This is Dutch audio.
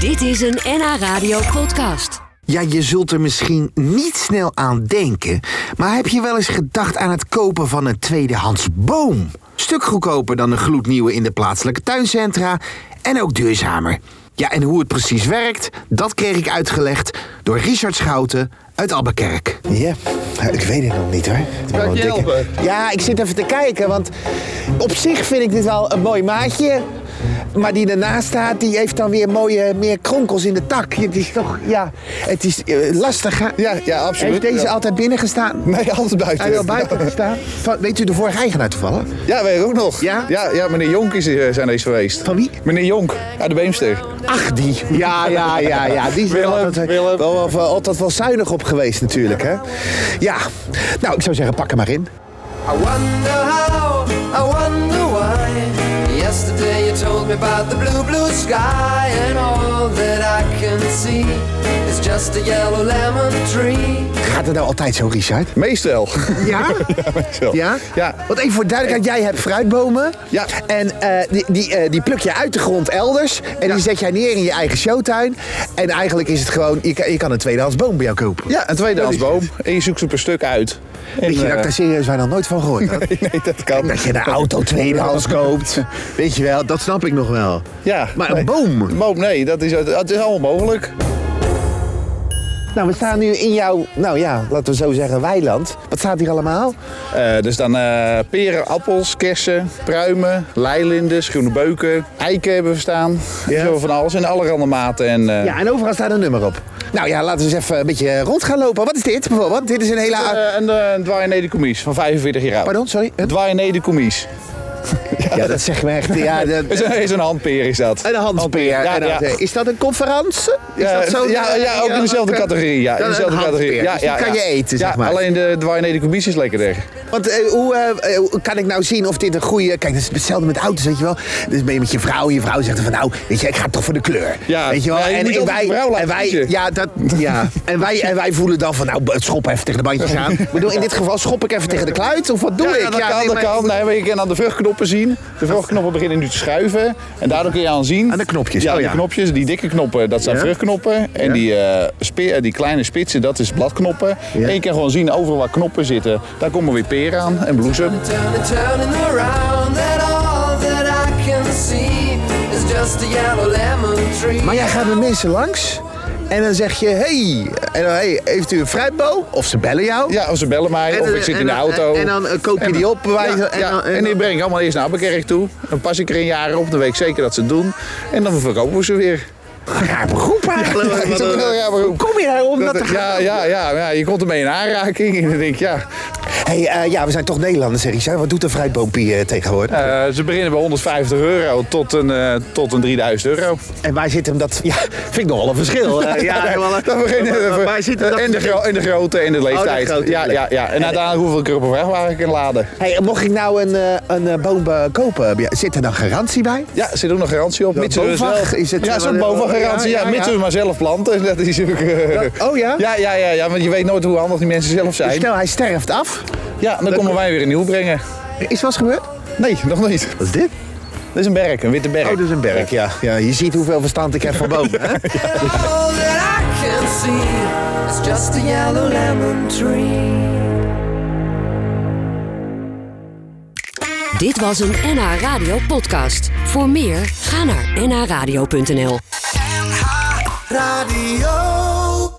Dit is een NH Radio podcast. Ja, je zult er misschien niet snel aan denken, maar heb je wel eens gedacht aan het kopen van een tweedehands boom? Stuk goedkoper dan een gloednieuwe in de plaatselijke tuincentra en ook duurzamer. Ja, en hoe het precies werkt, dat kreeg ik uitgelegd door Richard Schouten uit Abbekerk. Ja, ik weet het nog niet hoor. Het is Kan wel ik je een dikke- helpen? Ja, ik zit even te kijken, want op zich vind ik dit wel een mooi maatje. Maar die ernaast staat, die heeft dan weer mooie meer kronkels in de tak. Het is toch, ja, het is eh, lastig. hè? Ja, ja, absoluut. Heeft deze Ja. altijd binnen gestaan? Nee, altijd buiten. Hij wel buiten gestaan? Van, weet u de vorige eigenaar toevallig? Ja, weet ik ook nog. Ja? Ja, ja meneer Jonk is, eh, zijn deze geweest. Van wie? Meneer Jonk, uit de Beemster. Ach, die. Ja, ja, ja, ja. Die zijn Willem, altijd, Willem. Wel, wel- wel altijd wel zuinig op geweest natuurlijk, hè? Ja, nou, ik zou zeggen, pak hem maar in. I wonder how, I wonder why. Yesterday you told me about the blue, blue sky, and all that I can see is just a yellow lemon tree. Gaat het nou altijd zo, Richard? Meestal. Ja? Meestal. Ja? Ja. Want even voor duidelijkheid, jij hebt fruitbomen. Ja. En eh, die, die, eh, die pluk je uit de grond elders. En die zet jij neer in je eigen showtuin. En eigenlijk is het gewoon, je kan, je kan een tweedehands boom bij jou kopen. Ja, een tweedehands Dat is boom. En je zoekt ze per stuk uit. En, Weet je dat eh, ik daar serieus waar nog nooit van gehoord had? Nee, dat kan. Dat je een auto tweedehands koopt. Weet je wel, dat snap ik nog wel. Ja. Maar een nee. boom? Een boom, nee. Dat is, dat is allemaal mogelijk. Nou, we staan nu in jouw, nou ja, laten we zo zeggen, weiland. Wat staat hier allemaal? Eh, dus dan eh, peren, appels, kersen, pruimen, leilindes, groene beuken, eiken hebben we staan. Zo van alles in allerhande maten. En, eh, Ja, en overal staat een nummer op. Nou ja, laten we eens even een beetje rond gaan lopen. Wat is dit bijvoorbeeld? Dit is een hele... a- eh, een, eh, een dwaaienedecommies van 45 jaar oud. Pardon, sorry? Een Een- dwaaienedecommies. Ja, dat zeg maar echt. Ja, dat, Is een, is een handpeer is dat. Een handpeer. Ja, en dan- ja. Is dat een conferentie? Is Ja, dat zo? ja, ja, ook in dezelfde oké. categorie. Ja, in Dan dezelfde een categorie. handpeer. Ja, Dus ja, die kan ja. je eten, Ja, zeg maar. Alleen de dwaaienedecommies is lekkerder. Want eh, hoe eh, eh, kan ik nou zien of dit een goede... Kijk, dat is hetzelfde met auto's, weet je wel. Dus ben je met je vrouw en je vrouw zegt dan van... Nou, weet je, ik ga toch voor de kleur. Ja, weet je wel. maar je en, moet en altijd wij, je vrouw laten en wij, kiezen. ja, dat, ja. en, wij, en wij voelen dan van... Nou, het schop even tegen de bandjes aan. Ik bedoel, in dit geval schop ik even tegen de kluit. Of wat doe Ja, ik? dat kan, nee, dat maar- kan. Nee, maar je kan aan de vruchtknoppen zien. De vruchtknoppen beginnen nu te schuiven. En daardoor kun je aan zien... Aan de knopjes, Ja, oh die ja. knopjes. Die dikke knoppen, dat zijn Ja. vruchtknoppen. En Ja. die, eh, spe- eh, die kleine spitsen, dat is bladknoppen. Ja. En je kan gewoon zien overal waar knoppen zitten. Daar komen weer peren aan en bloesem. Turning, turning around, that all that I can see is just a yellow lemon tree. Maar jij gaat met mensen langs... En dan zeg je, hey, en dan, hey, heeft u een fruitboom? Of ze bellen jou. Ja, of ze bellen mij, En, of eh, ik zit en in de dan- auto. en dan, eh, koop je die op, bij wijze- ja, en ja. dan- en En die dan- breng ik allemaal eerst naar Abbekerk toe. Dan pas ik er een jaar op, dan weet ik zeker dat ze het doen. En dan verkopen we ze weer. Raar beroep eigenlijk. Ja, is ook een heel raar beroep. Hoe kom je daarom dat te gaan? ja, ja, ja, ja, je komt ermee in aanraking en dan denk ik, ja. Hey, eh, ja, we zijn toch Nederlanders, zeg ik. Zo, Wat doet een fruitboompie eh, tegenwoordig? Eh, ze beginnen bij 150 euro tot een, eh, tot een 3000 euro. En waar zit hem dat... Ja, vind ik nogal een verschil. eh, ja, nee, wel, eh, dan beginnen we waar- even- waar zit hem dat en, de verschil? gro- en de grootte en de leeftijd. Oh, grote ja, ja, ja. En uiteindelijk hoeveel ik er op een vrachtwagen kan laden. Hey, mocht ik nou een, eh, een eh, boom eh, kopen, ja, zit er dan garantie bij? Ja, er zit ook nog garantie op. Mits we dus BOVAG wel- is het, ja, eh, zo'n wel- bovengarantie. Ja, ja, ja, mits ja. we maar zelf planten. Dat is ook, eh, oh ja? Ja, ja, ja, ja, want je weet nooit hoe handig die mensen zelf zijn. Stel, hij sterft af. Ja, dan komen wij weer een nieuw brengen. Is wel eens gebeurd? Nee, nog niet. Wat is dit? Dat is een berk, een witte berk. Oh, dat is een berg, ja. ja. Je ziet hoeveel verstand ik heb van bomen, hè? And all that I can see is just a yellow lemon tree. Dit was een NH Radio podcast. Voor meer, ga naar nhradio.nl. Radio.